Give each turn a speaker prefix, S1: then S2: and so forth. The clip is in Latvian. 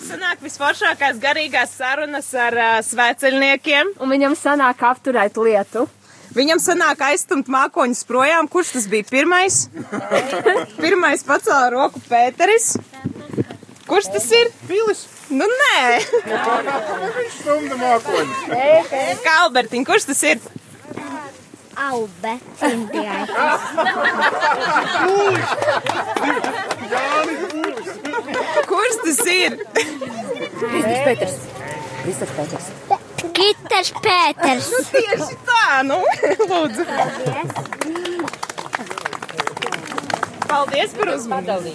S1: sanāk visforšākās garīgās sarunas ar uh, sveceļniekiem.
S2: Un viņam sanāk apturēt lietu.
S1: Viņam sanāk aizstumt mākoņus projām. Kurš tas bija pirmais? pirmais pacēla roku Pēteris. Kurš tas ir? Pilis. Nu, nē,
S3: Viņš stumda mākoņus.
S1: kā Albertiņ, kurš tas ir?
S4: Aube. Indijai.
S1: Kurš tas ir?
S5: Kristīns Pēters. Kristīns Pēters.
S4: Gitars Pēters.
S1: Tieši tā, nu, lūdzu. Paldies par uzmanību.